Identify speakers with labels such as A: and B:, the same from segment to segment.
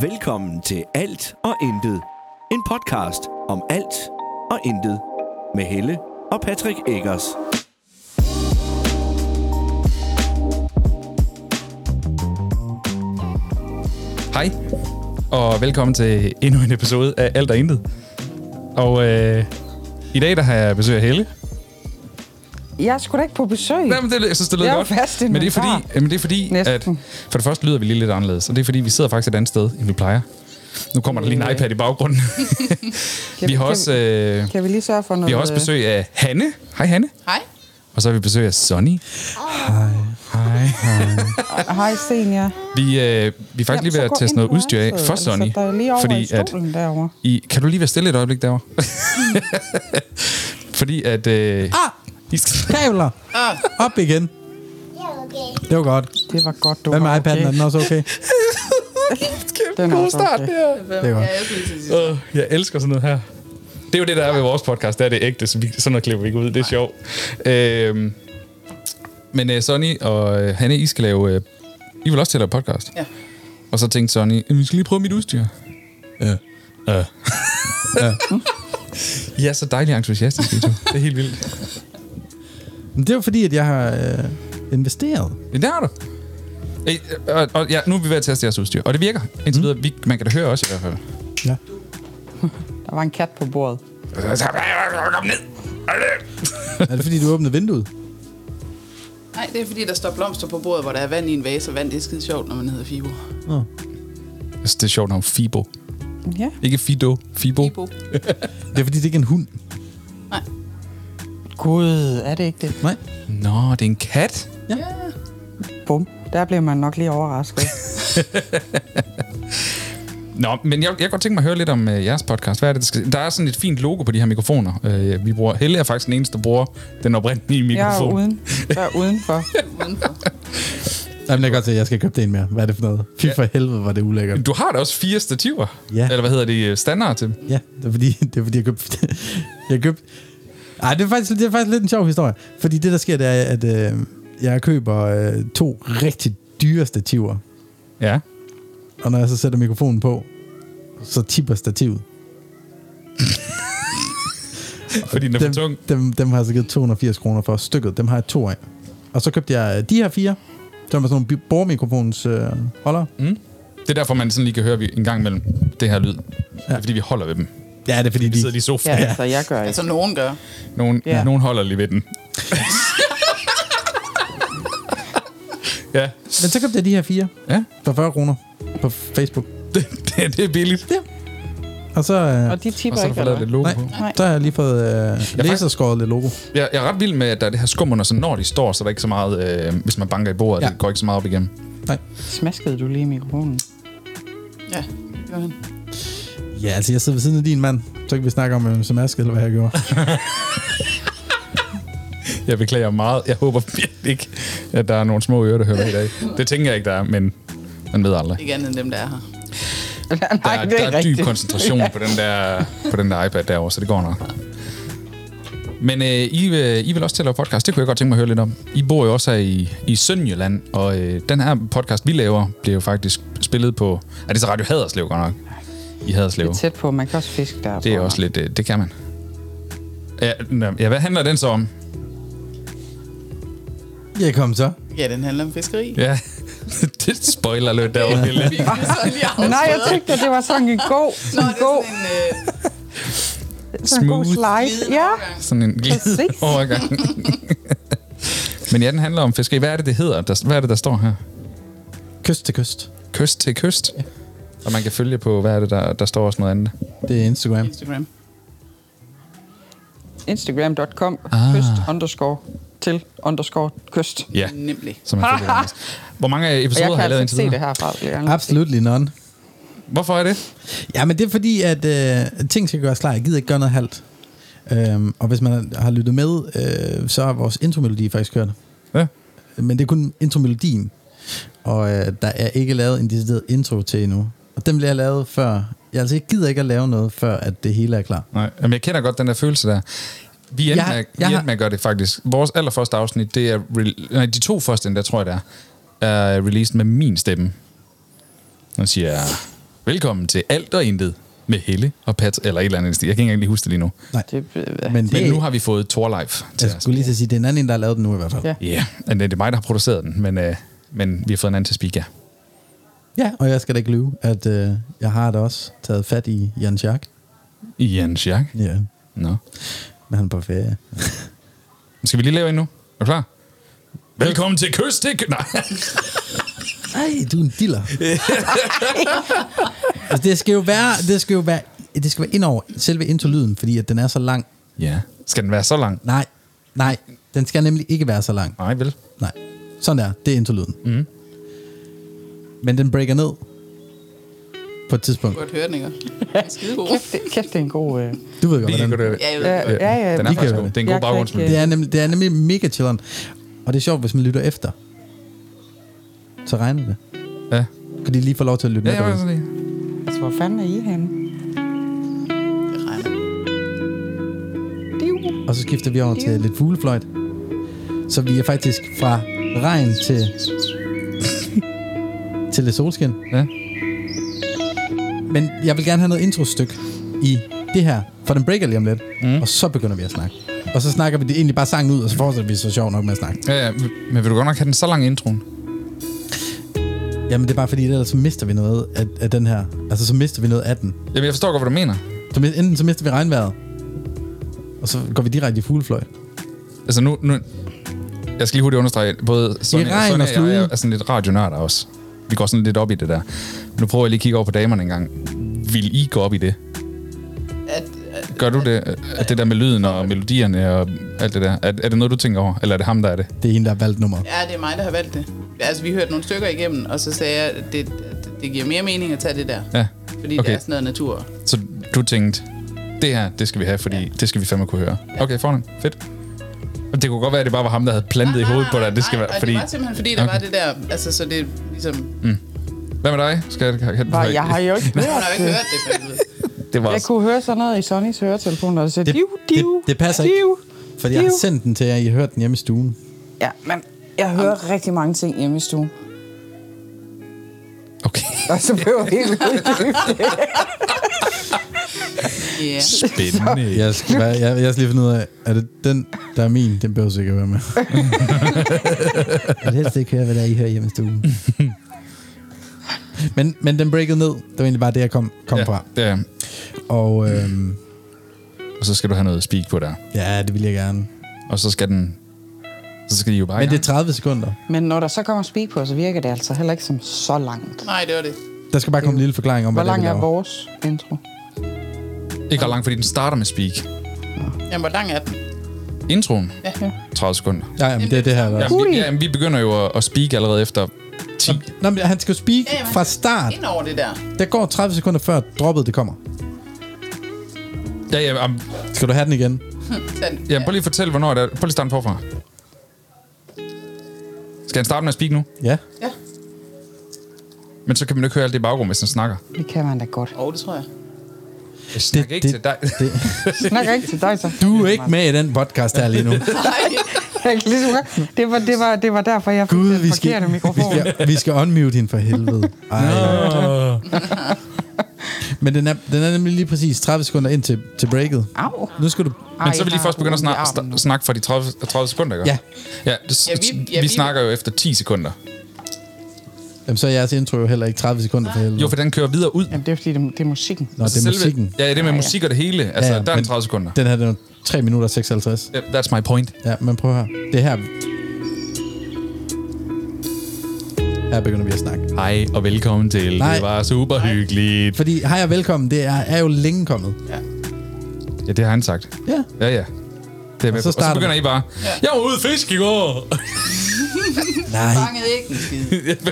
A: Velkommen til Alt og Intet. En podcast om alt og intet. Med Helle og Patrick Eggers.
B: Hej, og velkommen til endnu en episode af Alt og Intet. Og øh, i dag der har jeg besøg af Helle.
C: Jeg skulle da ikke på besøg.
B: Nej, men det, jeg synes, det lyder
C: Jeg er
B: godt.
C: jo fast i
B: men
C: min
B: det er fordi,
C: bar.
B: øh, men det er fordi at
C: Næsten.
B: for det første lyder vi lige lidt anderledes, og det er fordi, vi sidder faktisk et andet sted, end vi plejer. Nu kommer der lige en
C: Øh.
B: iPad i baggrunden. vi har
C: kan-
B: også, øh,
C: Kan vi lige sørge for noget?
B: vi har også besøg af Hanne. Hej Hanne.
D: Hej.
B: Og så har vi besøg af Sonny. Hej. Hej, hej.
C: øh, Hej, Senia.
B: Vi, øh, vi er faktisk lige ved at teste noget udstyr af for Sonny.
C: altså, Der er lige over fordi i
B: Fordi at
C: stolen at... derovre.
B: I, kan du lige være stille et øjeblik derovre? Fordi at... Øh, ah! I skal,
E: kabler. Op igen. Det var godt.
C: Det var godt, du
E: Hvad med
C: var
E: iPad'en? Er den også Ah, okay?
C: Den er
B: god
C: også
B: start,
C: okay.
B: det her.
E: Det er godt.
B: Øh, jeg elsker sådan noget her. Det er jo det, der er ved vores podcast. Det er det ægte. Så vi, sådan noget klipper vi ikke ud. Det er sjovt. Øhm, men øh, Sonny og øh, Hanne, I skal lave... Øh, I vil også til at lave podcast.
D: Ja.
B: Og så tænkte Sonny, "Øh, vi skal lige prøve mit udstyr.
E: Ja.
B: Ja. I er så dejligt entusiastiske, I to. Det er helt vildt.
E: Men det var fordi, at jeg har øh, investeret.
B: Det har du. Øh, og, og, ja, nu er vi ved at teste jeres udstyr. Og det virker. Indtil videre. Vi, man kan da høre også øh, i hvert fald.
E: Ja.
C: Der var en kat på bordet.
B: Kom ned.
E: Er det fordi, du åbnede vinduet?
D: Nej, det er fordi, der står blomster på bordet, hvor der er vand i en vase, og vand det er skide sjovt, når man hedder Fibo.
B: Uh.
E: Nå.
B: Jeg synes, altså, det er sjovt navn. Fibo.
C: Ja,
B: Ikke Fido. Fibo.
D: Fibo.
E: Det er fordi, det ikke er en hund.
D: Nej.
C: gud, er det ikke det?
E: Nej.
B: Nå, det er en kat.
C: Bum, der blev man nok lige overrasket.
B: Nå, men jeg, jeg kunne godt tænke mig at høre lidt om øh, jeres podcast. Hvad er det, der, skal... der er sådan et fint logo på de her mikrofoner, øh, vi bruger. Helle er faktisk den eneste, der bruger den oprindelige
C: Jeg er,
B: mikrofon.
C: uden, jeg er udenfor.
D: Udenfor.
E: Jamen, jeg kan godt se, at jeg skal købe det en mere. Hvad er det for noget? Fy for helvede, var det ulækkert.
B: Du har da også fire stativer.
E: Ja.
B: Eller hvad hedder det? øh, Standard til. dem.
E: Ja, det er fordi, det er fordi jeg købte... jeg købte... Ej, det er, faktisk, det er faktisk lidt en sjov historie. Fordi det, der sker, det er, at øh, jeg køber øh, to rigtig dyre stativer.
B: Ja.
E: Og når jeg så sætter mikrofonen på, så tipper stativet.
B: Fordi den er for tung.
E: Dem, dem har jeg så givet 280 kroner for stykket. Dem har jeg to af. Og så købte jeg øh, de her fire, som er sådan nogle bi- boremikrofons øh, holder. Mm.
B: Det er derfor, man sådan lige kan høre vi en gang imellem det her lyd. Ja. Det er fordi, vi holder ved dem.
E: Ja, det er fordi,
B: Vi sidder
E: de,
B: lige i
C: Ja,
B: sofaen. Ja.
C: altså, jeg gør ikke.
D: Altså, nogen gør.
B: Nogen, ja.
C: Ja.
B: nogen holder lige ved den. ja.
E: Men så købte jeg de her fire
B: Ja.
E: for 40 kroner på Facebook.
B: Det, det, det er billigt. Ja.
E: Og så, øh,
C: Og de
B: Og så
C: tipper
B: har du
C: ikke,
B: fået lavet lidt
C: eller
B: logo
E: nej,
B: på.
C: Nej.
E: så har jeg lige fået øh, laserskåret lidt logo.
B: Jeg, jeg er ret vild med, at der er det her skum under, så når de står, så er der ikke så meget, øh, hvis man banker i bordet, ja.
E: Ja.
B: det går ikke så meget op igennem.
E: Nej.
C: Smaskede du lige i mikrofonen?
D: Ja, det gør han.
E: Ja, altså jeg sidder ved siden af din mand. Så kan vi snakke om øh, smask, eller hvad jeg gjorde.
B: Jeg beklager meget. Jeg håber virkelig ikke, at der er nogle små ører, der hører med i dag. Det tænker jeg ikke, der er, men man ved aldrig.
D: Ikke andet end dem, der er her.
B: Der, er, der er dyb koncentration på den der, på den der iPad derovre, så det går nok. Men øh, I, vil- I vil også til at lave podcast, det kunne jeg godt tænke mig at høre lidt om. I bor jo også her i, i Sønderjylland, og øh, den her podcast, vi laver, bliver jo faktisk spillet på... Er det så Radio Haderslev godt nok? I Haderslev.
C: Lidt tæt på, man kan også fiske der.
B: Det
C: tror
B: er
C: jeg.
B: også lidt... Øh, det kan man. Ja, nå, ja, hvad handler den så om?
E: ja, kom så.
D: Ja, den handler om fiskeri. Ja.
B: Ja, det spoiler lidt derovre. Helle.
D: Vi kan sådan lige afsløre.
C: Nej, jeg tænkte, at det var sådan en god,
D: Nå,
C: en
D: det er
C: god,
D: sådan
C: sådan
D: en øh,
C: en god
B: smooth.
C: slide. Ja,
B: Sådan en glid
C: Præcis.
B: overgang. Men ja, den handler om fiskeri. Hvad er det, det hedder? Der, hvad er det, der står her?
E: Kyst til kyst.
B: Kyst til kyst. Og man kan følge på, hvad er det, der, der står også noget andet.
E: Det er Instagram.
D: Instagram.
C: instagram.com,
E: Ah.
C: kyst underscore til underscore kyst.
B: Ja,
D: Nemlig.
B: så man følger det. Hvor mange
C: Og jeg
B: episoder
C: kan
B: har jeg
C: altså
B: lavet
C: ikke
B: indtil
C: se det
B: videre?
C: herfra. vil jeg gerne sige.
E: Absolutely none.
B: Hvorfor er det?
E: Ja, men det er fordi, at øh, ting skal gøres klar. Jeg gider ikke gøre noget halvt. Øhm, og hvis man har lyttet med, øh, så er vores intromelodi faktisk kørt.
B: Ja.
E: Men det er kun intromelodien. Og øh, der er ikke lavet en decideret intro til endnu. Og den bliver lavet før... Jeg, altså, jeg gider ikke at lave noget, før at det hele er klar.
B: Nej, men jeg kender godt den der følelse der. Vi endte,
E: Jeg-
B: med, vi
E: jeg
B: endte
E: har-
B: med at gøre det faktisk. Vores allerførste afsnit, det er... Re- nej, de to første endda, tror jeg det er, er released med min stemme. Nu siger jeg... Velkommen til Alt og Intet med Helle og Pat, eller et eller andet. stil. Jeg kan ikke engang lige huske det lige nu.
E: Nej,
C: Det, øh,
E: men, det,
B: Men nu har vi fået Torlife til
E: jeg
B: os.
E: skulle lige til at sige, det er en anden, der har lavet den nu i hvert fald.
C: Ja.
B: Ja, yeah. det er mig, der har produceret den, men, øh, men vi har fået en anden til at speak, ja.
E: ja og jeg skal da ikke lyve, at øh, jeg har da også taget fat i Jan Schack.
B: Jens Jack.
E: Ja,
B: Nå.
E: men han er på ferie.
B: Skal vi lige lave en nu? Er du klar? Velkommen til Kyst til Kyst. Nej.
E: Ej, du er en diller. altså, det skal jo være, det skal jo være, det skal være ind over selve introlyden, fordi at den er så lang.
B: Ja. Skal den være så lang?
E: Nej, nej, den skal nemlig ikke være så lang.
B: Nej, vel?
E: Nej, sådan der, det er introlyden. Mm. Men den breaker ned på et tidspunkt.
D: Godt hørninger. Skidegod.
C: kæft, det- kæft, det er en god... Øh,
E: Du ved godt,
B: Vi kan
E: hvordan.
B: gøre det.
D: Ja, jeg ved
C: ja,
D: det.
C: ja, ja,
B: Den er
E: vi
B: faktisk
E: kan-
B: god. Det er en god
C: jeg kan
B: baggrund.
C: ikke-
E: Det er nemlig, det er nemlig mega chilleren. Og det er sjovt, hvis man lytter efter. Så regner det.
B: Ja.
E: Kan de lige få lov til at lytte
B: Ja,
E: med
B: jeg var
E: derude?
B: sådan lige.
C: altså, hvor fanden er I henne?
D: Det regner.
E: Og så skifter vi over til lidt fuglefløjt. Så vi er faktisk fra regn til... til lidt solskin.
B: Ja.
E: Men jeg vil gerne have noget introstykke i det her, for den breaker lige om lidt. Mm. Og så begynder vi at snakke. Og så snakker vi det egentlig bare sangen ud, og så fortsætter vi så sjovt nok med at snakke.
B: Ja, ja, men vil du godt nok have den så lang introen?
E: Jamen det er bare fordi, ellers så mister vi noget af, af den her. Altså så mister vi noget af den.
B: Jamen, jeg forstår godt, hvad du mener.
E: Så mi- enten så mister vi regnvejret, og så går vi direkte i fuglefløj.
B: Altså nu, nu jeg skal lige hurtigt understrege, både Sonja,
E: regn
B: Sonja
E: og
B: og jeg, jeg
E: slude.
B: er sådan lidt radionørder også. Vi går sådan lidt op i det der. Nu prøver jeg lige at kigge over på damerne en gang. Vil I gå op i det?
D: At, at,
B: Gør du det? Er det der med lyden og melodierne og alt det der? Er, er det noget, du tænker over? Eller er det ham, der er det?
E: Det er hende, der har valgt nummer.
D: ja, det er mig, der har valgt det. Altså, vi hørte nogle stykker igennem, og så sagde jeg, at det, at det giver mere mening at tage det der.
B: Ja.
D: Fordi
B: Okay.
D: det er sådan noget natur.
B: Så du tænkte, det her, det skal vi have, fordi ja. det skal vi fandme kunne høre. Okay, fornemt. Fedt. Og Det kunne godt være, at det bare var ham, der havde plantet i hovedet på dig. at Det skal
D: Nej,
B: være,
D: og
B: fordi...
D: det var simpelthen, fordi der
B: Okay.
D: okay. var det der... Altså, så det ligesom...
B: Hvad med dig? Skal jeg, kan, kan,
C: Var, jeg har jo ikke
D: Hun
C: hørt
D: har jo ikke
C: det.
D: hørt det, for helvede.
B: Det var
C: Jeg kunne høre sådan noget i Sonnys høretelefoner, og så sagde,
E: Det-
C: div,
E: det-
C: div,
E: det passer ikke.
C: div.
E: Fordi jeg har
C: Div.
E: sendt den til jer, I har hørt den hjemme i stuen.
C: Ja, men jeg hører rigtig mange ting hjemme i stuen.
B: Okay.
C: Og så blev jeg helt uddybt.
D: Ja.
B: Spændende.
E: Jeg skal, bare, jeg, jeg skal lige finde ud af, er det den, der er min? Den behøver sikkert være med. jeg vil helst ikke høre, hvad der er, I hører hjemme i stuen. men, men den breakede ned. Det var egentlig bare det, jeg kom, kom ja. fra.
B: det er,
E: Og øhm,
B: og så skal du have noget speak på der.
E: ja, det vil jeg gerne.
B: Og så skal den... Så skal de jo bare i
E: Men det er
B: gang.
E: 30 sekunder.
C: Men når der så kommer speak på, så virker det altså heller ikke som så langt.
D: Nej, det var det.
E: Der skal bare komme en lille forklaring om,
C: Hvor
E: hvad det er, vi
C: lang er
E: laver.
C: vores intro?
B: ikke ret langt, fordi den starter med speak.
D: Jamen, hvor lang er den?
B: Introen,
D: Ja.
B: 30 sekunder.
E: Ja, jamen, det er det her. Der.
B: Jamen, vi, jamen, vi begynder jo at, at speak allerede efter 10.
E: Nå, men han skal jo speak
D: Ja, ja, man
E: fra
D: skal
E: start.
D: Ind over det der.
E: Der går 30 sekunder før droppet det kommer.
B: Ja, ja, jamen,
E: Skal du have den igen?
D: Sådan.
B: jamen, prøv lige at fortælle, hvornår det er. Prøv lige at starte forfra. Skal han starte med at speak nu?
E: Ja.
D: Ja.
B: Men så kan man jo ikke høre alt det i baggrunden, hvis han snakker.
C: Det kan man da godt.
D: Åh, det tror jeg.
B: Jeg snakker det, ikke
E: det-
B: til dig.
E: Det.
C: Snak ikke til dig, så.
E: Du
B: øh.
E: er ikke med i den podcast her lige nu.
C: Jeg kan ligesom godt- Det var, det var, det var derfor, jeg fik
E: Gud,
C: den
E: vi
C: forkerte
E: skal, vi
C: mikrofon.
E: skal, vi skal unmute hende for helvede. Ej. Men den er, den er nemlig lige præcis 30 sekunder ind til, til breaket.
C: Au.
E: Nu skal du...
B: Men så vil de først begynde at snakke,
C: snak.
B: sna- snakke for de 30, 30 sekunder, ikke?
E: Ja.
B: ja, det,
D: Ja,
B: ja,
D: vi-
B: vi,
D: ja,
B: vi
D: vi-
B: snakker jo efter 10 sekunder.
E: Jamen, så er jeres intro jo heller ikke 30 sekunder for helvede.
B: Jo, for den kører videre ud.
C: Jamen, det er fordi, det, det er musikken.
E: Nå, det er
B: Selve-
E: musikken.
B: Ja, det er med musik og det hele. Altså, ja, der er
E: men
B: den 30 sekunder.
E: Den her, den er 3 minutter og 56.
B: Yeah, That's my point.
E: Ja, men prøv her. Det er her... Her begynder vi at snakke.
B: Hej og velkommen til.
E: Nej.
B: Det var super hyggeligt.
E: Fordi hej og velkommen, det er, er jo længe kommet.
B: Ja, det har han sagt.
E: Ja.
B: Ja, ja. Det er og,
E: så
B: så og så
E: starter
B: begynder I bare, ja. jeg var ude at fiske i går.
E: Nej,
D: Fangede ikke en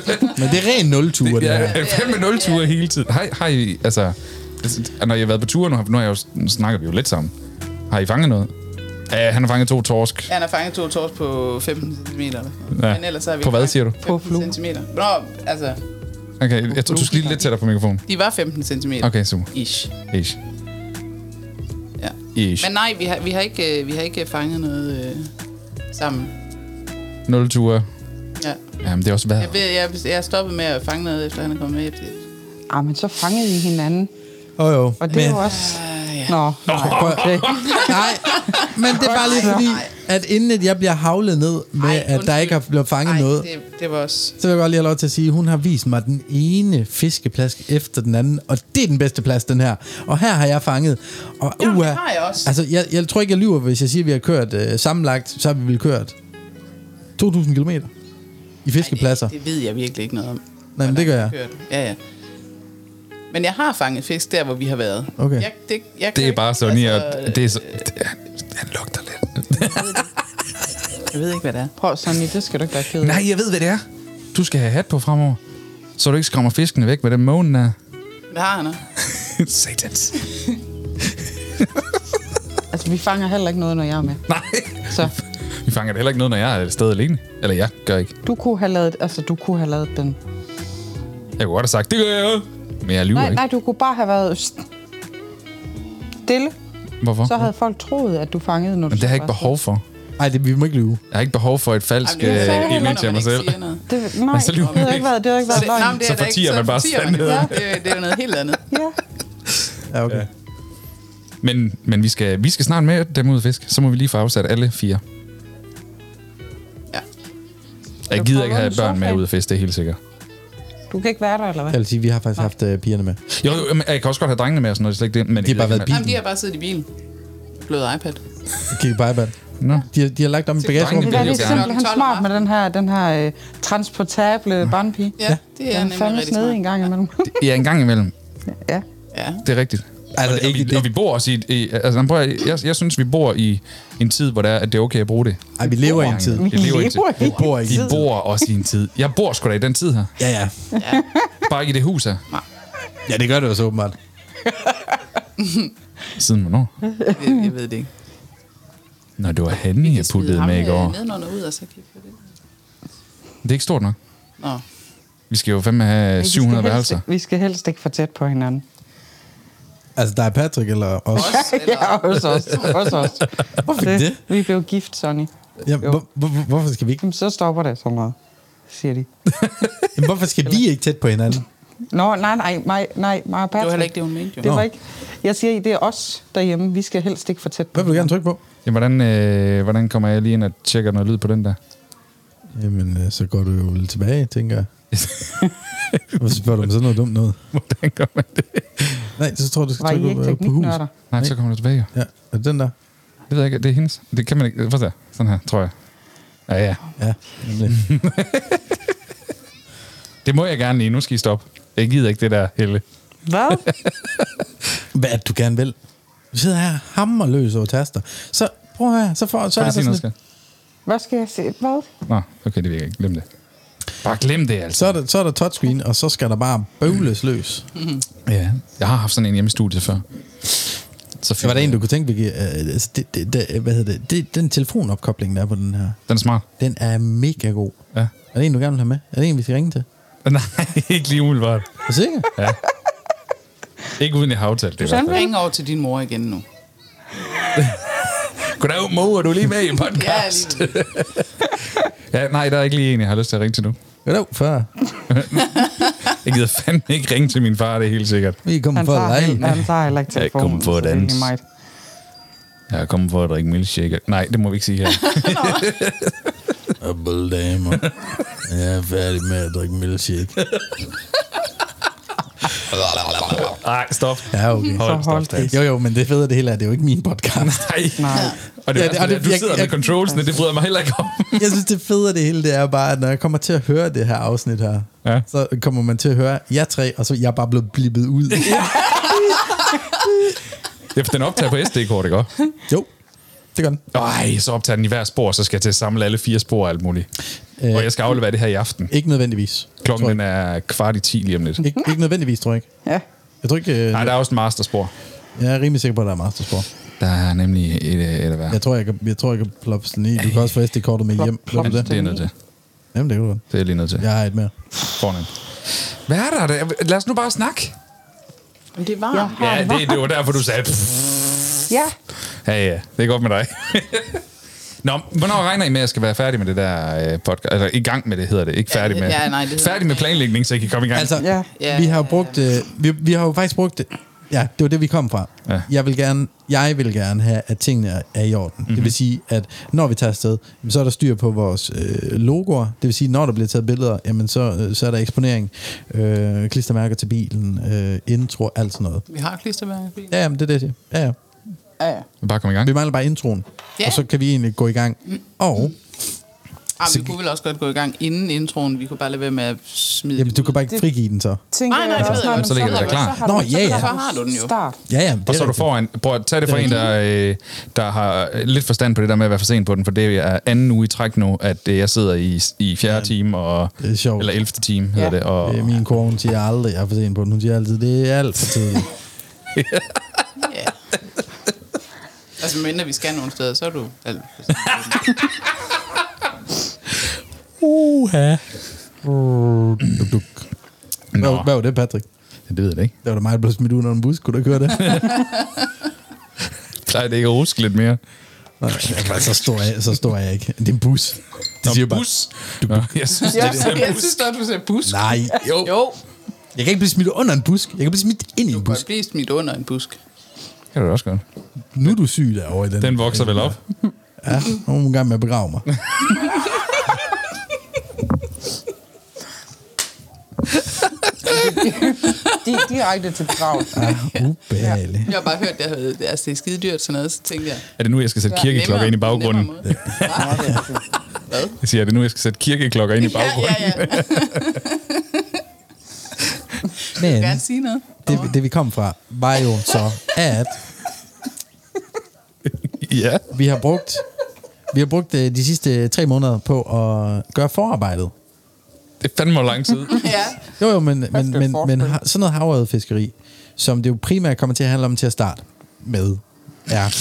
D: skid.
E: men det er ren nul-ture, det,
B: ja,
E: her.
B: ja, fem med nul ture hele tiden. Har, I- har I, altså, altså, når jeg har været på tur, nu, har, nu, har jeg jo, nu snakker vi jo lidt sammen. Har I fanget noget? Ja, han har fanget to torsk.
D: Han har fanget to tors på 15 cm.
B: Ja.
D: Ja. Men ellers har vi
B: På hvad, siger du?
D: På flue. Centimeter. Nå, altså,
B: Okay, jeg tror, du skal lige lidt tættere på mikrofonen.
D: de var 15 cm.
B: Okay, super.
D: Ish.
B: Ish.
D: Ja.
B: Ish.
D: Men nej, vi har, vi har, ikke, øh, vi har ikke fanget noget øh, sammen.
B: Nul ture.
D: Ja.
B: Jamen, det er også
D: Jeg,
B: vejret.
D: ved, jeg, jeg er stoppet med at fange noget, efter han er kommet med.
C: Ah, men så fangede I hinanden.
E: Åh oh, jo.
C: Og det
E: men,
C: er jo også...
D: ja.
C: Nå, nej. Okay.
E: Nej, men det er bare lige fordi, at inden at jeg bliver havlet ned med,
D: Ej,
E: Ej, at der
D: undskyld.
E: ikke har blevet fanget
D: Ej,
E: noget,
D: Det, det var også...
E: så vil jeg godt lige have lov til at sige, at hun har vist mig den ene fiskeplask efter den anden, og det er den bedste plads, den her. Og her har jeg fanget. Og
D: Jamen, det
E: uha,
D: har jeg også.
E: Altså, jeg, jeg tror ikke, jeg lyver, hvis jeg siger, at vi har kørt øh, sammenlagt, så har vi vel kørt 2.000 km i fiskepladser.
D: Det, det ved jeg virkelig ikke noget om.
E: Nej, men det gør jeg.
D: Ja, ja. Men jeg har fanget fisk der, hvor vi har været.
E: Okay.
D: Jeg, det, jeg kan
B: Det er
D: ikke-
B: bare sådan, altså,
D: altså,
B: at det er så, det, han lugter lidt.
D: Jeg ved ikke, hvad det er.
C: Prøv Sonny, det skal du ikke være ked af.
B: Nej, jeg ved, hvad det er. Du skal have hat på fremover, så du ikke skræmmer fiskene væk med den månen er.
D: Hvad har han?
B: Satans.
C: Altså, vi fanger heller ikke noget, når jeg er med.
B: Nej.
C: Så
B: Vi fanger da heller ikke noget, når jeg er et sted alene. Eller jeg gør ikke.
C: du kunne have lavet, altså, du kunne have lavet den.
B: Jeg kunne godt have sagt, det gør jeg Men jeg lyver
C: Nej,
B: ikke.
C: nej, du kunne bare have været stille.
B: Hvorfor?
C: Så havde folk troet, at du fangede, når du
B: Men det har jeg ikke
C: skulle være
B: behov for.
E: Nej, det, vi må ikke lyve.
B: Jeg har ikke behov for et falsk
D: Jamen, det er
B: øh,
D: fandme, når
B: image af
D: man
B: mig
D: ikke
B: selv.
D: siger noget.
C: stille. Det, nej,
B: så lyver
C: det havde
B: man
C: ikke været, det havde ikke
D: Så,
C: været
D: det, nå,
C: løgn.
D: men det er
B: Så
D: der ikke-
B: fortier man bare
D: fortier man det. Ja, Det, er- det er jo noget helt andet.
C: Ja.
E: Ja, okay. Ja.
B: Men, men vi, skal, vi skal snart med dem ud at fisk. Så må vi lige få afsat alle fire.
D: Ja.
B: Jeg
C: du
B: gider
C: prøve
B: ikke have
C: en
B: børn med
C: sofa?
B: ud at fisk, det er helt sikkert.
C: Du kan ikke være der, eller hvad?
E: Jeg vil sige, vi har faktisk haft øh, pigerne med.
B: Jo, jo, men jeg kan også godt have drengene med og sådan noget, det er slet ikke det. Men
E: De har bare været
D: Jamen, de
E: bilen.
D: har bare siddet i bilen. Blød iPad.
E: Kigge på iPad.
B: Nå.
E: De har, de har lagt om i bagagerummet.
C: Det er lidt
B: Jeg vil gerne.
C: simpelthen smart med den her, den her øh, transportable barnpige.
D: Mm. Ja, det er
C: Den
D: nemlig
C: fandme
D: rigtig
C: snedig
D: smart.
C: en gang imellem.
B: Ja, en gang imellem.
C: ja.
D: Ja.
B: Det er rigtigt.
E: Altså,
B: Altså, og,
E: ikke
B: vi,
E: det-
B: og vi bor også i... i altså, prøv, at- jeg, jeg synes, vi bor i en tid, hvor det er, at det er okay at bruge det.
E: Ej, vi lever i en tid.
B: Vi lever i en tid.
C: Lever i
E: Vi bor i
B: De
E: en tid.
B: bor også i en tid. Jeg bor sgu da i den tid her.
E: Ja, ja.
B: Bare ikke i det hus her.
E: Ja, det gør det jo så åbenbart.
B: Siden hvornår?
D: Jeg, jeg ved det ikke.
B: Når det var Hanne, jeg puttede med i går.
D: nedenunder øh, ud, og så kigge på det.
B: Det er ikke stort nok.
D: Nå.
B: Vi skal jo fandme have
C: Vi skal
B: 700
C: helst-
B: værelser.
C: Vi skal helst ikke for tæt på hinanden.
E: Altså, der er Patrick eller os.
D: Os, eller,
C: Ja, også os. Også os.
E: Hvorfor ikke det?
C: Vi blev gift, Sonny.
E: Ja, hvor, hvor, hvor- hvorfor skal vi ikke?
C: Jamen, så stopper det sådan noget, siger de.
E: Jamen, hvorfor skal vi ikke tæt på hinanden?
C: Nå, nej, nej, nej, nej, mig og Patrick.
D: heller ikke det, hun mente, jo.
C: Det var
E: Nå.
C: ikke. Jeg siger, det er os derhjemme. Vi skal helst ikke for tæt på.
E: Hvad vil du gerne trykke på?
B: Ja, hvordan, øh, hvordan kommer jeg lige ind og tjekker noget lyd på den der?
E: Jamen, øh, så går du jo lidt tilbage, tænker jeg. Hvorfor spørger du om sådan noget dumt noget?
B: hvordan gør man det?
E: Nej, så tror jeg, du skal
C: Var I
E: trykke på,
C: ikke
E: øh, på hus.
C: tekniknørder?
B: Nej, så kommer du tilbage. jo.
E: Ja, er det den der?
B: Det ved jeg ikke. Det er hendes. Det kan man ikke. Prøv at se. Sådan her, tror jeg. Ja, ja.
E: Ja, nemlig.
B: Det må jeg gerne lige. Nu skal I stoppe. Jeg gider ikke det der, Helle.
C: Hvad?
E: Hvad er det, du gerne vil? Du sidder her hammerløs over taster. Så prøv at høre, så, får, så
B: Prøv
E: er der
B: at sige
E: sådan
B: noget,
E: et,
B: skal.
C: Hvad skal jeg se? Hvad?
B: Nå, okay, det virker ikke. Glem det. Bare glem det, altså.
E: så er, der, så er der touchscreen, og så skal der bare bøvles løs.
B: Ja. Jeg har haft sådan en hjemme i studiet før. Så
E: Så var der en, du
B: du...
E: kunne tænke, Vicky, øh, altså, det, det, det, hvad hedder det, det, den telefonopkobling, der er på den her,
B: Den er smart.
E: den er mega god.
B: Ja.
E: Er det en, du gerne vil have med? Er det en, vi skal ringe til?
B: Nej, ikke lige umiddelbart.
E: Er du sikker?
B: Ja. Ikke uden jeg har aftalt det. i hvert fald.
D: ring over til din mor igen nu.
B: Goddag, Mo, er du lige med i en
D: Ja,
B: podcast?
D: lige ved det.
B: ja, nej, der er ikke lige en, jeg har lyst til at ringe til nu.
E: Goddag, far.
B: Jeg gider fandme ikke ringe til min far, det er helt sikkert.
E: Vi er kommet
C: Han
E: for at
C: tager,
E: lege.
C: helt, han tager heller ikke
B: Jeg er
C: telefonen.
B: kommet for
C: så
B: at
C: det er
B: danse.
C: lige meget.
B: Jeg er kommet for at drikke milkshake. Nej, det må vi ikke sige her.
E: Double damer. Jeg er færdig med at drikke milkshake.
B: Nej, stop.
E: Ja, okay.
B: Hold,
C: Så hold
B: stop, Dan.
E: Jo, jo, men det fede af det hele er, det er jo ikke min podcast.
B: Nej.
C: Nej.
B: Og det,
E: Ja,
B: ja,
E: det-
B: det,
E: og det-
B: det, du
E: jeg-
B: sidder
E: jeg-
B: med controlsene, det bryder jeg mig heller ikke om.
E: Jeg synes, det fede af det hele, det er bare, at når jeg kommer til at høre det her afsnit her,
B: Ja.
E: så kommer man til at høre jer tre, og så er jeg bare blevet blippet ud.
B: Ja, for den optager på SD-kort, ikke også?
E: jo, det gør den.
B: Ej, så optager den i hver spor, så skal jeg til at samle alle fire spor og alt muligt. Øh, og jeg skal aflevere det her i aften.
E: Ikke nødvendigvis.
B: Klokken
E: tror
B: den er kvart i ti lige om lidt.
E: Ikke, ikke nødvendigvis, tror jeg ikke.
C: Ja.
E: Jeg tror ikke, øh,
B: Nej, der er også en masterspor.
E: jeg er rimelig sikker på, at der er masterspor.
B: Der er nemlig et, øh, et af hver.
E: Jeg tror, jeg kan, jeg tror, jeg kan ploppe sådan i. Du kan også få SD-kortet med hjem. Plop,
B: Men
E: plop,
B: det er
E: det.
B: jeg nødt til.
E: Jamen, det er jo godt.
B: Det er jeg lige nødt til. Ja.
E: Jeg har et mere.
B: Fornemt. Hvad er der? der? Lad os nu bare snakke.
D: Men det var...
C: Jeg
D: Ja.
C: har
B: Ja, det, det var derfor, du sagde... pff.
C: Ja.
B: Ja, ja. Det er godt med dig. Nå, hvornår regner I med, at jeg skal være færdig med det der øh, podcast? Eller i gang med det, hedder det. Ikke
D: Ja,
B: færdig med.
D: ja, nej, det hedder-
B: færdig med planlægning, så I kan komme i gang.
E: Altså,
C: Ja.
E: ja, vi har jo
D: Ja.
E: brugt... Øh, vi, vi har jo faktisk brugt... øh, Ja, det var det, vi kom fra.
B: Ja.
E: Jeg, vil gerne, jeg vil gerne have, at tingene er- er i orden. Mm-hmm. Det vil sige, at når vi tager afsted, jamen, så er der styr på vores øh, logoer. Det vil sige, når der bliver taget billeder, jamen, så, øh, så er der eksponering, øh, klistermærker til bilen, øh, intro, alt sådan noget.
D: Vi har klistermærker.
E: Ja, jamen, det er det, jeg siger. Ja, ja.
D: ja. ja.
B: Bare komme i gang.
E: Vi mangler bare introen,
D: Ja.
E: og så kan vi egentlig gå i gang. Og
D: Ah, vi kunne vel også godt gå i gang inden introen. Vi kunne bare lade være med at smide
E: jamen,
D: det
E: du kan bare ikke frigive den så.
C: Tænker
D: Nej, nej,
C: jeg
D: det
C: også,
D: ved jeg
C: når
D: godt.
C: den
B: Så ligger det
C: har-
B: da klar.
C: har
E: Nå,
C: den-
E: ja, ja.
D: Så har du den jo.
C: Start.
E: Ja, ja.
B: Og så er du foran. Prøv at tage det fra en, der, øh, der har lidt forstand på det der med at være for sent på den, for det er anden uge i træk nu, at øh, jeg sidder i, i fjerde time, og,
E: Det er sjovt.
B: eller elfte time hedder
C: Ja.
B: det. Og,
E: Øh, Min kone hun siger aldrig, jeg er for sent på den. Hun siger altid, det er alt for tidligt.
D: Ja. Altså, mindre vi skal nogle steder, så er du... alt for sent.
E: Uha. Duk, duk. Hvad,
B: Nå,
E: hvad var det, Patrick?
B: det ved jeg da ikke.
E: Det var da mig, der blev smidt ud under en bus. Kunne du ikke høre det?
B: Plejer det ikke at ruske lidt mere?
E: Nej, så stor er jeg, så stor er jeg ikke. Det er en bus. De
B: Nå,
E: siger bare,
B: bus. Nå, jeg synes, det
D: Ja,
B: er en
D: jeg
B: bus.
D: synes godt, du ser busk.
E: nej,
B: Jo.
D: Jo,
E: jeg kan ikke blive smidt under en busk. Jeg kan blive smidt ind i
D: du
E: en
D: kan
E: busk.
D: godt blive smidt under en busk.
B: Kan du da også godt.
E: Nu er du syg derovre i den.
B: Den vokser vel op.
E: Ja, nu er hun i gang med at begrave mig.
C: De, direkte til begrav.
E: Ja, ubehagelig.
D: Jeg har bare hørt, at det, altså, det er skide dyrt sådan noget, så tænkte jeg...
B: Er det nu, jeg skal sætte
D: Ja,
B: kirkeklokker
D: nemmere-
B: ind i baggrunden?
D: nemmere måde.
B: Jeg siger, er det nu, jeg skal sætte kirkeklokker ind i
D: Ja, ja,
B: baggrunden?
D: ja.
E: Men
D: Vil du gerne sige noget?
E: det, det, vi kom fra, var jo så, at
B: Ja.
E: vi har brugt, vi har brugt øh, de sidste tre måneder på at gøre forarbejdet.
B: Det er fandme lang tid.
D: Ja.
E: Jo, jo, men, men, men, men
C: forskel.
E: har- sådan noget havørredfiskeri, som det jo primært kommer til at handle om til at starte med, er...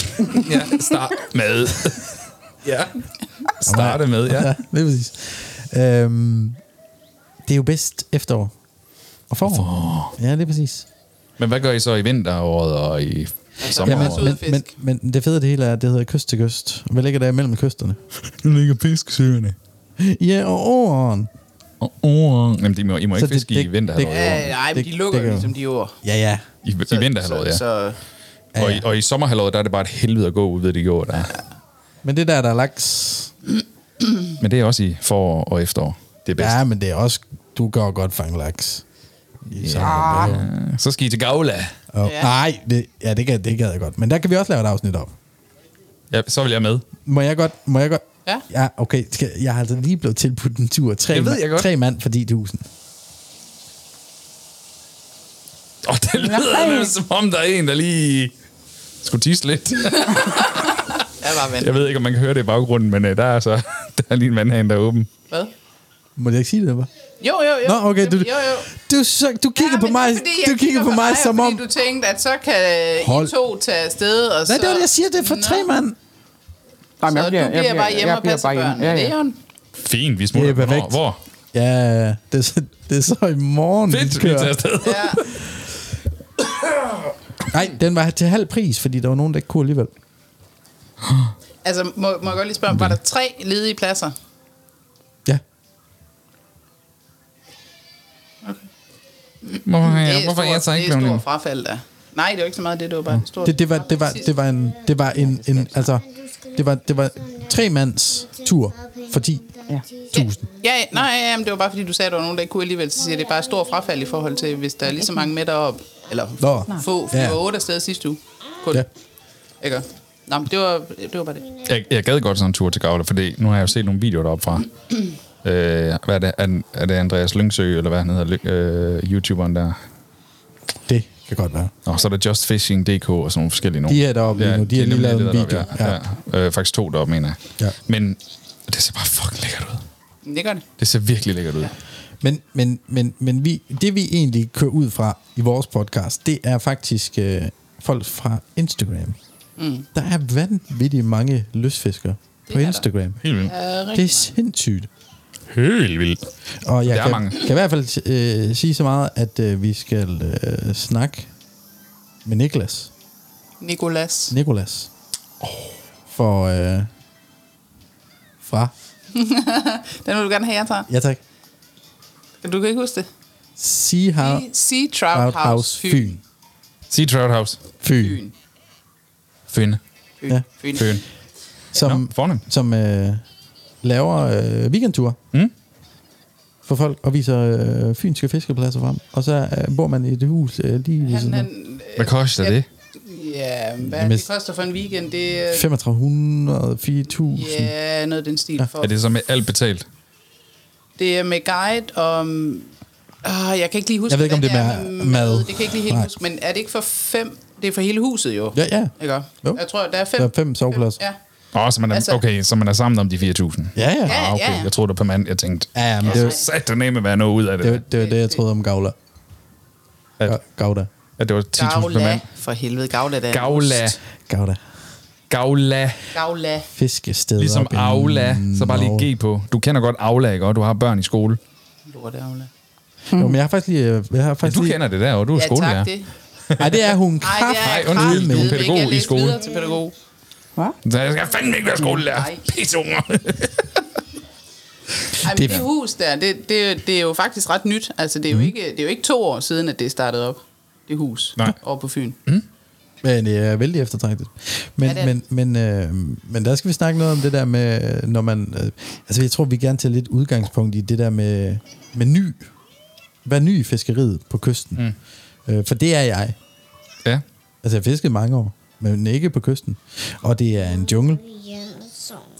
B: Ja, start med. Ja. Starte med, ja.
E: det er præcis. Øhm, det er jo bedst efterår. Og forår. Ja, det er præcis.
B: Men hvad gør I så i vinteråret og i
D: Altså, Jamen,
B: sommeråret?
D: Søde
E: men,
D: fisk.
E: men, men det fede af det hele er, at det hedder kyst til kyst. Hvad ligger der imellem kysterne?
B: Nu ligger fiskesøerne.
E: Ja, og åren.
B: Og, oh, jamen, de må, I må ikke
E: Så det-
B: fiske i
E: det-
B: vinterhalvåret.
E: det-
D: Ja, nej, men
E: Det-
D: de lukker
E: det
D: jo
E: kan-
D: ligesom de ord.
E: Ja, ja.
B: I, I vinterhalvåret, ja.
D: Så, så,
B: Og, i, og i sommerhalvåret, der er det bare et helvede at gå ud ved de går der.
E: Men det der, der er laks...
B: Men det er også i forår og efterår. Det er bedst.
E: Ja, men det er også... Du gør godt fange laks. Ja.
B: Ja. Øh, Så skal I til Gavla.
E: Og,
D: Ja.
E: nej, det, ja, det, gad, det gad jeg godt. Men der kan vi også lave et afsnit op.
B: Ja, så vil jeg med.
E: Må jeg godt? Må jeg godt?
D: Ja.
E: Ja, okay. Skal, jeg har altså lige blevet tilbudt en tur. Tre,
B: Det ved jeg godt.
E: tre mand for 10.000.
B: Og det lyder lidt, som om der er en, der lige skulle tisse lidt.
D: der var vand.
B: Altså- Jeg ved ikke, om man kan høre det i baggrunden, men øh, der er altså der er lige en vandhane, der er åben.
D: Hvad?
E: Må jeg ikke sige det, hva'?
D: Jo, jo, jo.
E: Nå, okay. Du,
D: Jamen, jo, jo.
E: Du, så, du kigger
D: Ja,
E: på
D: men
E: mig,
D: det er, fordi jeg
E: du kigger på mig
D: dig,
E: som
D: fordi
E: om...
D: du tænkte, at så kan
E: Hold.
D: I to tage afsted, og så...
E: Nej, det var det, jeg siger. Det er for
D: Nå.
E: tre mand.
C: Nej, men
D: Så du bliver, bare hjemme
C: jeg
D: og
C: bliver
D: passer
C: bare hjemme.
D: børnene. Det er jo en-
B: Fint, vi smutter.
E: Det er perfekt.
B: Hvornår? Hvor?
E: Ja, det er, så- det er så i morgen,
B: Fedt, vi tager afsted.
D: Ja.
E: Nej, den var til halv pris, fordi der var nogen, der ikke kunne alligevel.
D: Altså, må, må jeg godt lige spørge, var der tre ledige pladser?
E: Ja.
B: Hvorfor, har
D: Det
B: jeg,
D: er
B: hvorfor er
D: stort-
B: jeg så ikke
D: Det
B: blevet
D: er
B: det?
D: stort frafald, der. Nej, det var ikke så meget det, det var bare stort.
E: Det, det, var, det, var, det var en... Det var en, en altså, det var, det var tre mands tur for 10.
C: Ja.
E: Tusind.
D: Ja, ja, nej, ja, men det var bare fordi, du sagde, at der var nogen, der ikke kunne alligevel. Så siger jeg, det er bare stor frafald i forhold til, hvis der er lige så mange med derop. Eller
E: Nå.
D: få, for
E: Ja.
D: ja. otte afsted sidste uge. Kun.
E: Ja.
D: Ja. Ikke? Nå, men det var, det var bare det.
B: Jeg, jeg gad godt sådan en tur til Gavle, for det, nu har jeg jo set nogle videoer deroppe fra. øh, hvad er det? Er, den- er det Andreas Lyngsø, eller hvad han hedder, Lyng- øh, YouTuberen der?
E: Det kan godt være.
B: Nå, så er der justfishing.dk og sådan nogle forskellige nogle.
E: De er deroppe lige nu. De har lige
B: nemlig
E: lavet en
B: deroppe,
E: video.
B: Ja, ja. Øh, faktisk to deroppe, mener jeg.
E: Ja.
B: Men det ser bare fucking lækkert ud.
D: Men Det gør det.
B: Det ser virkelig lækkert ud.
E: Men, men, men, men vi, det vi egentlig kører ud fra i vores podcast, det er faktisk øh, folk fra Instagram. Mm. Der er vanvittigt mange løsfiskere på
D: er der.
E: Instagram.
B: Helt vildt.
E: Det er sindssygt.
B: Helt vildt.
E: Og jeg
B: Der er
E: kan,
B: mange.
E: kan i hvert fald øh, sige så meget, at øh, vi skal øh, snakke med Niklas.
D: Nikolas.
E: Nikolas. For øh, fra...
D: Den vil du gerne have, jeg tager.
E: Ja, tak.
D: Du kan ikke huske det.
E: Sea How...
D: Sea Trout House Fyn.
B: Sea Trout House.
E: Fyn.
B: Fyn.
D: Fyn.
E: Ja.
D: Fyn.
B: Fyn.
E: Som,
B: Nå, fornemt.
E: som øh, laver øh, weekendture
B: Mm?
E: for folk og viser øh, fynske fiskepladser frem. Og så øh, bor man i et hus øh, lige ved
D: Han,
E: siden af.
D: han,
B: Hvad koster
D: Ja.
B: det?
D: ja, hvad
E: Jamen,
D: det koster for en weekend, det er
E: 3500, 4000.
D: ja, noget af den stil. For.
B: Er det så med alt betalt?
D: Det er med guide og... Ah, jeg kan ikke lige huske,
E: Jeg ved ikke, om
D: hvad
E: det er med mad.
D: Det kan jeg ikke lige helt
E: Nej.
D: huske, men er det ikke for fem? Det er for hele huset jo.
E: Ja, ja.
D: Ikke? også?
E: Jo.
D: Jeg tror, der er fem.
E: Der er fem sovepladser.
D: Ja.
B: Åh, så man er,
D: Altså-
B: okay, så man er sammen om de 4.000.
E: Ja, ja.
D: Ja,
B: Ah, okay.
D: ja, ja.
B: Jeg troede, det var per mand. Jeg tænkte,
E: Ja, ja, men det er jo-
B: sat der nemme være noget ud af det.
E: Det var, det var det, jeg troede om Gavla.
B: At-
E: Ga- Gavda.
B: at det var 10.000 per
D: Gavla.
B: mand.
D: For helvede, Gavla. der er en
B: Gavla.
D: ost.
E: Gavda.
B: Gavla.
D: Gavla.
E: Fiskested.
B: Ligesom Aula. Så bare lige G på. Du kender godt Aula, ikke? Og du har børn i skole.
D: Lort, Aula.
E: Jo, men jeg har faktisk lige... øh, Jeg har
B: Ja,
E: faktisk
B: du
E: lige...
B: kender det der, og du er
D: Ja,
B: skolelærer.
D: tak det.
E: Ej, det er hun.
D: Nej, det er
B: Nej,
D: jeg
B: undskyld,
D: kraftedeme
B: du er
D: ikke.
B: pædagog
D: Jeg
B: i
D: læste
B: skole.
D: videre til pædagog.
C: Hvad?
B: Så jeg skal fandme ikke være skolelærer.
D: Nej.
B: Pisseunger.
D: Ej,
E: Det
D: men det,
E: er- Mhm.
D: det hus der, det, det, det er jo faktisk ret nyt. Altså, det er, jo ikke, det er jo ikke to år siden, at det startede op, det hus,
B: Nej.
D: over på Fyn.
E: Men det er vældig eftertragtet. Men,
D: Ja, det er
E: men, men, øh, men der skal vi snakke noget om det der med, øh, når man... Øh, altså, jeg tror, vi gerne tager lidt udgangspunkt i det der med, med ny. Hvad er ny i fiskeriet på kysten? Mm. Øh, for det er jeg.
B: ja.
E: Altså, jeg har fisket mange år, men ikke på kysten. Og det er en jungle.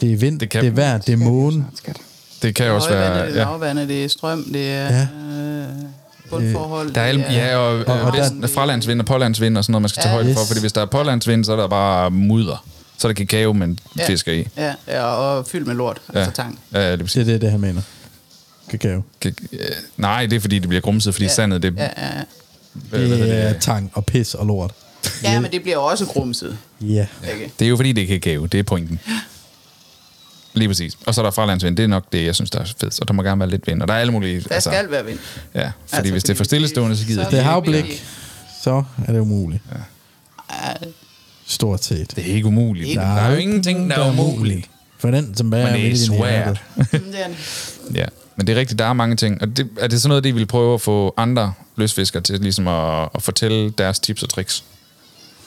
E: Det er vind,
B: Det
E: det,
B: kan-
E: det er vejr, det er måne.
C: Skat.
B: Det kan også
D: Højvandet,
B: være...
D: det er
B: Ja.
D: lavvandet, det er strøm, det er
E: Ja.
D: ja. øh, bundforhold.
B: Øh, Der er alle,
D: det er-
B: ja, og, og,
E: og
B: og
E: der-
B: der, fralandsvind og pålandsvind og sådan noget, man skal tage
D: Ja.
B: højde for,
E: Yes.
B: fordi hvis der er pålandsvind, så er der bare mudder. Så er der kakao, men
D: Ja.
B: fisker i.
D: Ja, ja, og fyldt med lort, ja. altså tang.
B: Ja, det vil
E: Det
B: sige,
E: er det, det han mener. Kakao.
B: kak- øh, nej, det er fordi, det bliver grumset, fordi ja. sandet, det,
D: Ja, ja. ja.
B: øh, hvad
E: Det
B: hedder
E: er
B: det,
E: tang og pis og lort.
D: ja men det bliver også grumset.
E: Ja.
D: Ikke?
B: det er jo fordi, det er kakao, det er pointen. Lige præcis. Og så er der fralandsvind, det er nok det, jeg synes, der er fedt. Og der må gerne være lidt vind, og der er alle mulige...
D: Der altså, skal være vind.
B: Ja, fordi altså, hvis det er for stillestående, så gider
D: så-
B: det.
E: Det er havblik, så er det umuligt.
D: Ej,
E: Stort set.
B: Det er ikke umuligt. Der er jo ingenting, der er umuligt.
E: For den, som bare
B: Men
E: er
B: det er
E: midt i din hjerte.
B: svært.
D: det er det.
B: Ja, men det er rigtigt, der er mange ting. Og det, er det sådan noget, det I vil prøve at få andre løsfiskere til ligesom at, at fortælle deres tips og tricks?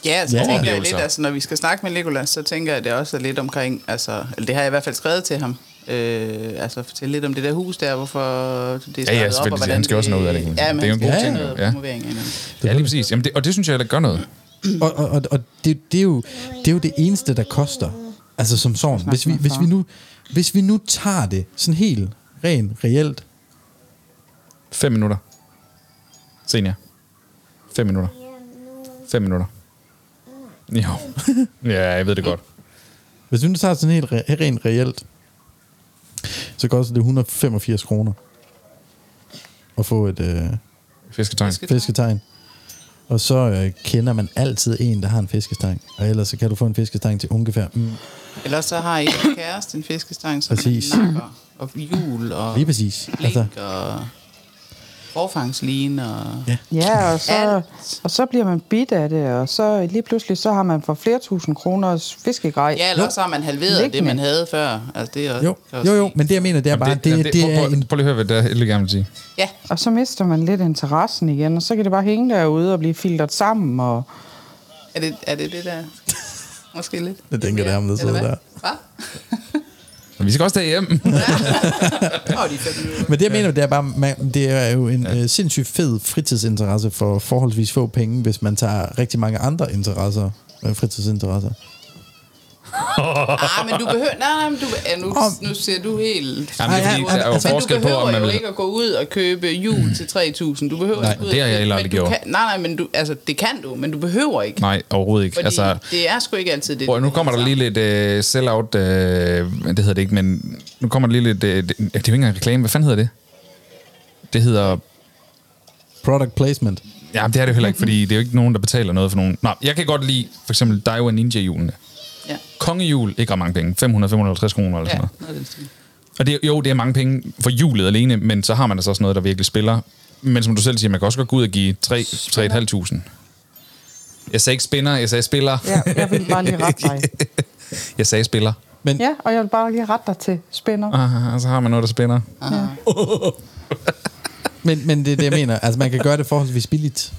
D: Ja, altså,
E: Ja.
D: ja, tænker jeg
B: Oplevelser.
D: lidt, altså, når vi skal snakke med Legolas, så tænker jeg, at det også er lidt omkring, altså, eller det har jeg i hvert fald skrevet til ham, øh, altså fortælle lidt om det der hus der, hvorfor det er startet op,
B: selvfølgelig,
D: og hvordan
B: han skal også
D: det-
B: noget ud af det, kan man sige.
D: Ja, men
B: Det er jo en
E: god
D: han
E: ting,
D: skal også
B: jo, ja.
D: noget promovering af det.
B: Ja, lige præcis. Jamen det, og det synes jeg, der gør noget.
D: Mm.
E: Og, og, og, og det, det, er jo, det er jo det eneste, der koster. Altså som sådan. Hvis vi, hvis vi, nu, hvis vi nu tager det sådan helt rent reelt.
B: Fem minutter. Senior. Fem minutter. Fem minutter. Jo. ja, jeg ved det godt.
E: Hvis vi nu tager det sådan helt re- rent reelt, så koster det 185 kroner at få et øh,
B: Fisketegn.
E: fisketegn. Og så øh, kender man altid en, der har en fiskestang. Og ellers så kan du få en fiskestang til ungefær mm,
D: Ellers så har I en kæreste, en fiskestang, som
E: Præcis.
D: nakker, og jul, og
E: Lige præcis.
D: blink,
E: Altså,
D: og forfangsline, og...
E: Ja.
C: Ja, og så,
D: Alt.
C: og så bliver man bidt af det, og så lige pludselig, så har man for flere tusind kroners fiskegrej.
D: Ja, eller også har man halveret
C: Liggende.
D: det, man havde før. Altså, det er også,
E: jo,
D: kan også
E: jo, jo,
D: ske.
E: men det jeg mener, det er bare, det, det, det,
B: prøv,
E: er
B: prøv,
E: en...
B: prøv, lige at høre, hvad det er, jeg gerne vil sige.
D: Ja,
C: Og så mister man lidt interessen igen, og så kan det bare hænge derude og blive filtret sammen. Og...
D: er det, er det det der... Måske lidt.
E: Jeg tænker, det er ham, der sidder
D: Eller hvad?
E: der.
D: Hvad?
B: Men vi skal også derhjem.
D: Åh, de fem minutter.
E: Men det jeg mener, det er bare, man, det er jo en øh, sindssygt fed fritidsinteresse for forholdsvis få penge, hvis man tager rigtig mange andre interesser, øh, fritidsinteresser.
D: Nej, men du behøver... Nej, nej, men du, ja, nu,
E: Om-
D: nu ser du helt...
B: Jamen, det er
E: Ej,
B: fordi,
E: ej,
B: der er jo
E: altså,
D: Men du
B: forskel på,
D: behøver
B: om man
D: jo
B: vil...
D: ikke at gå ud og købe jul til 3.000. Du behøver
B: Nej,
D: ikke gå ud
B: det har
D: og
B: jeg
D: købe-
B: heller
D: men
B: aldrig
D: du
B: gjort.
D: Kan, nej, nej, men du, altså, det kan du, men du behøver ikke.
B: Nej, overhovedet ikke.
D: Fordi
B: Altså,
D: det er sgu ikke altid det.
B: Prøv, nu kommer der lige lidt øh, sell-out, øh, det hedder det ikke, men nu kommer der lige lidt, øh, det, det er jo ikke engang reklame, hvad fanden hedder det? Det hedder,
E: Product placement.
B: ja, det er det jo heller ikke, fordi det er jo ikke nogen, der betaler noget for nogen. Nå, jeg kan godt lide for eksempel Daiwa Ninja-hjulene.
D: Ja,
B: Kongehjul, ikke ret mange penge, 500-550 kroner eller sådan
D: ja
B: noget.
D: noget af den stil.
B: Og det, er- jo, det er mange penge for hjulet alene, men så har man altså også noget, der virkelig spiller. Men som du selv siger, man kan også godt gå ud og give 3 3.500. Jeg sagde ikke spinner, jeg sagde spiller.
C: Ja, jeg vil bare lige rette dig.
B: Jeg sagde spiller.
E: Men
C: Ja, og jeg vil bare lige rette dig til spænder.
B: Ah, og så har man noget, der spænder.
E: Men, men det er det, jeg mener. Altså, man kan gøre det forholdsvis billigt.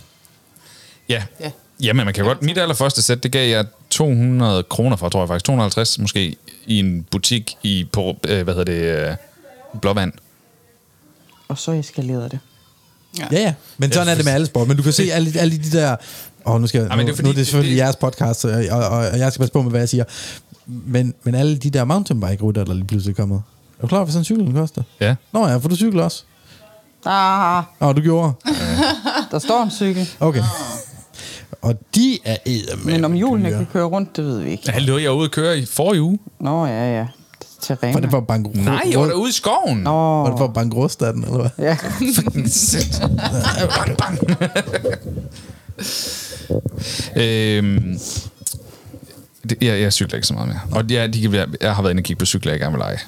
B: Ja.
D: Ja.
B: Jamen, man kan godt. Mit allerførste sæt, det gav jeg 200 kroner for, tror jeg faktisk. 250 måske i en butik i, på, øh, hvad hedder det, øh, Blåvand.
C: Og så eskalerede det.
E: Ja, ja. Men sådan er det med alle sport. Men du kan se alle, alle de der... Åh, oh, nu, skal,
B: Ja,
E: ja,
B: men det
E: nu,
B: er
E: det er
B: fordi,
E: nu er det selvfølgelig
B: det-
E: det, jeres podcast, og, og, og, og jeg skal passe på med, hvad jeg siger. Men, men alle de der mountainbike-ruter, der lige pludselig er kommet. Er du klar, over, hvad sådan en cykel koster?
B: Ja.
E: Nå ja, for du cykler også.
C: Ah,
E: Åh, oh, du gjorde.
C: der står en cykel.
E: Okay. Og de er eddermame
C: Men om hjulene
E: dyre.
C: kan køre rundt, det ved vi ikke.
B: Hallo, jeg var ude at køre i forrige uge.
C: Nå, ja, ja. Til
E: Var det
C: ringer.
E: for at banke
B: Nej, jeg var derude i skoven. Nå.
E: Var det for at banke rust af den, eller hvad?
C: Ja.
B: bang, bang. øhm, det, jeg, jeg cykler ikke så meget mere. Og ja, de kan, jeg, jeg har været inde og kigge på cykler, jeg gerne vil lege.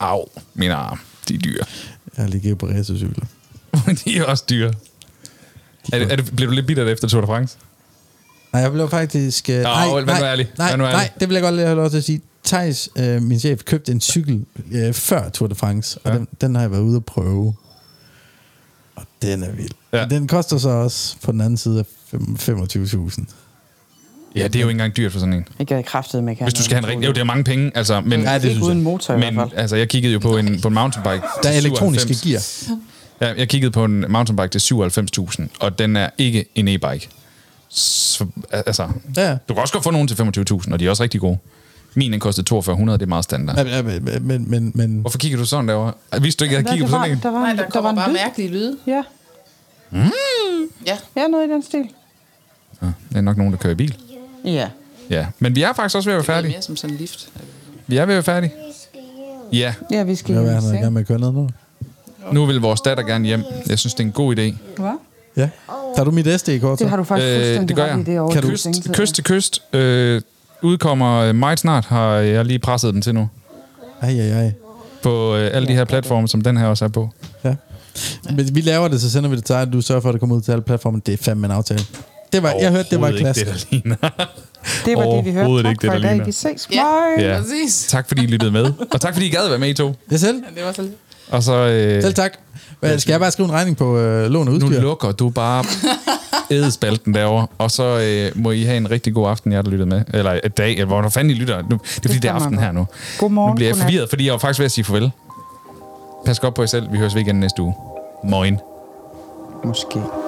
B: Au, mine arme. De er dyre.
E: Jeg har lige givet på racercykler.
B: de er også dyre. Er, det- er det, blev du lidt bitter efter Tour de France?
E: Nej, jeg blev faktisk... Øh, nej,
B: Aul, vær nu
E: nej,
B: ærlig.
E: Nej,
B: Vær nu ærlig.
E: nej, det vil jeg godt lige have lov til at sige. Thijs, øh, min chef, købte en cykel øh, før Tour de France, og
B: Ja.
E: den, den har jeg været ude at prøve. Og den er vild.
B: Ja.
E: Ja. Den koster så også på den anden side af fem- 25.000.
B: Ja, det er jo ikke engang dyrt for sådan en.
C: Ikke jeg kræftede med,
B: Hvis du skal have en rigtig... Jo, det er mange penge, altså. Men,
E: Ja, det
C: Ikke
E: synes
C: uden
E: jeg.
C: motor i
B: men
C: hvert fald.
B: altså, jeg kiggede jo på en, på en mountainbike.
E: Der
B: til
E: er elektroniske
B: 97.
E: gear.
B: Ja, jeg kiggede på en mountainbike til 97.000, og den er ikke en e-bike. Så, altså,
E: Ja.
B: du kan også godt få nogen til 25.000, og de er også rigtig gode. Min, den kostede 4200, det er meget standard.
E: Ja, men, men, men, men, men
B: Hvorfor kigger du sådan derovre? Altså, Vidste du ikke, at jeg
C: Hvad,
B: kiggede
C: det
B: på
C: var,
B: sådan en?
C: der var,
D: Nej,
C: en,
D: der
C: der var
D: kommer
C: en
D: bare
C: lyd.
D: mærkelige lyde.
C: Ja.
D: Ja.
C: ja, noget i den stil.
B: Ja, det er nok nogen, der kører i bil.
C: Ja.
B: Ja, men vi er faktisk også ved at være
D: Det er
B: færdige.
D: mere som sådan en lift.
B: Vi er ved at være færdige. Ja,
C: Ja, vi skal
E: jeg
C: hjem
E: vil
C: i
E: have i gang
C: seng.
E: med at køre noget nu.
B: nu vil vores datter gerne hjem. Jeg synes, det er en god idé.
C: Hvad?
E: Ja. Tager du mit SD-kort så?
C: Det har du faktisk
B: Øh,
C: fuldstændig
B: det gør jeg.
C: ret i det over
B: kan
C: i
B: du?
C: din
B: Kyst,
C: sengtid.
B: kyst til kyst øh, udkommer øh, meget snart, har jeg lige presset den til nu.
E: Ej, ej, ej.
B: På øh, alle de her platforme, som den her også er på.
E: Ja. Men vi laver det, så sender vi det til dig, og du sørger for, at det kommer ud til alle platformer. Det er fandme en aftale. Det var, jeg hørte, det var et
B: Overhovedet
E: klasse.
B: ikke det, der ligner.
C: Det var det, vi hørte.
B: Overhovedet
C: Tak
B: ikke det,
C: for
B: der
C: i dag.
B: ligner.
C: Vi ses.
D: Ja.
C: Bye.
B: Ja.
D: Præcis.
B: Tak fordi I lyttede med. Og tak fordi I gad være med i to.
E: Ja, selv.
D: Det var så lidt.
B: Og så... Øh,
E: Selv tak. Hvad, skal jeg bare skrive en regning på øh, lån og
B: nu
E: udstyr?
B: lukker du bare ædespalten derovre, og så øh, må I have en rigtig god aften, jer der lyttede med. Eller øh, dag, eller hvor fanden I lytter. Nu, det er fordi, det er
C: kan man
B: aften
C: godt.
B: her nu.
C: Godmorgen,
B: Nu bliver jeg
C: godnat.
B: forvirret, fordi jeg var faktisk ved at sige farvel. Pas godt på jer selv. Vi høres ved igen næste uge. Moin.
C: Måske.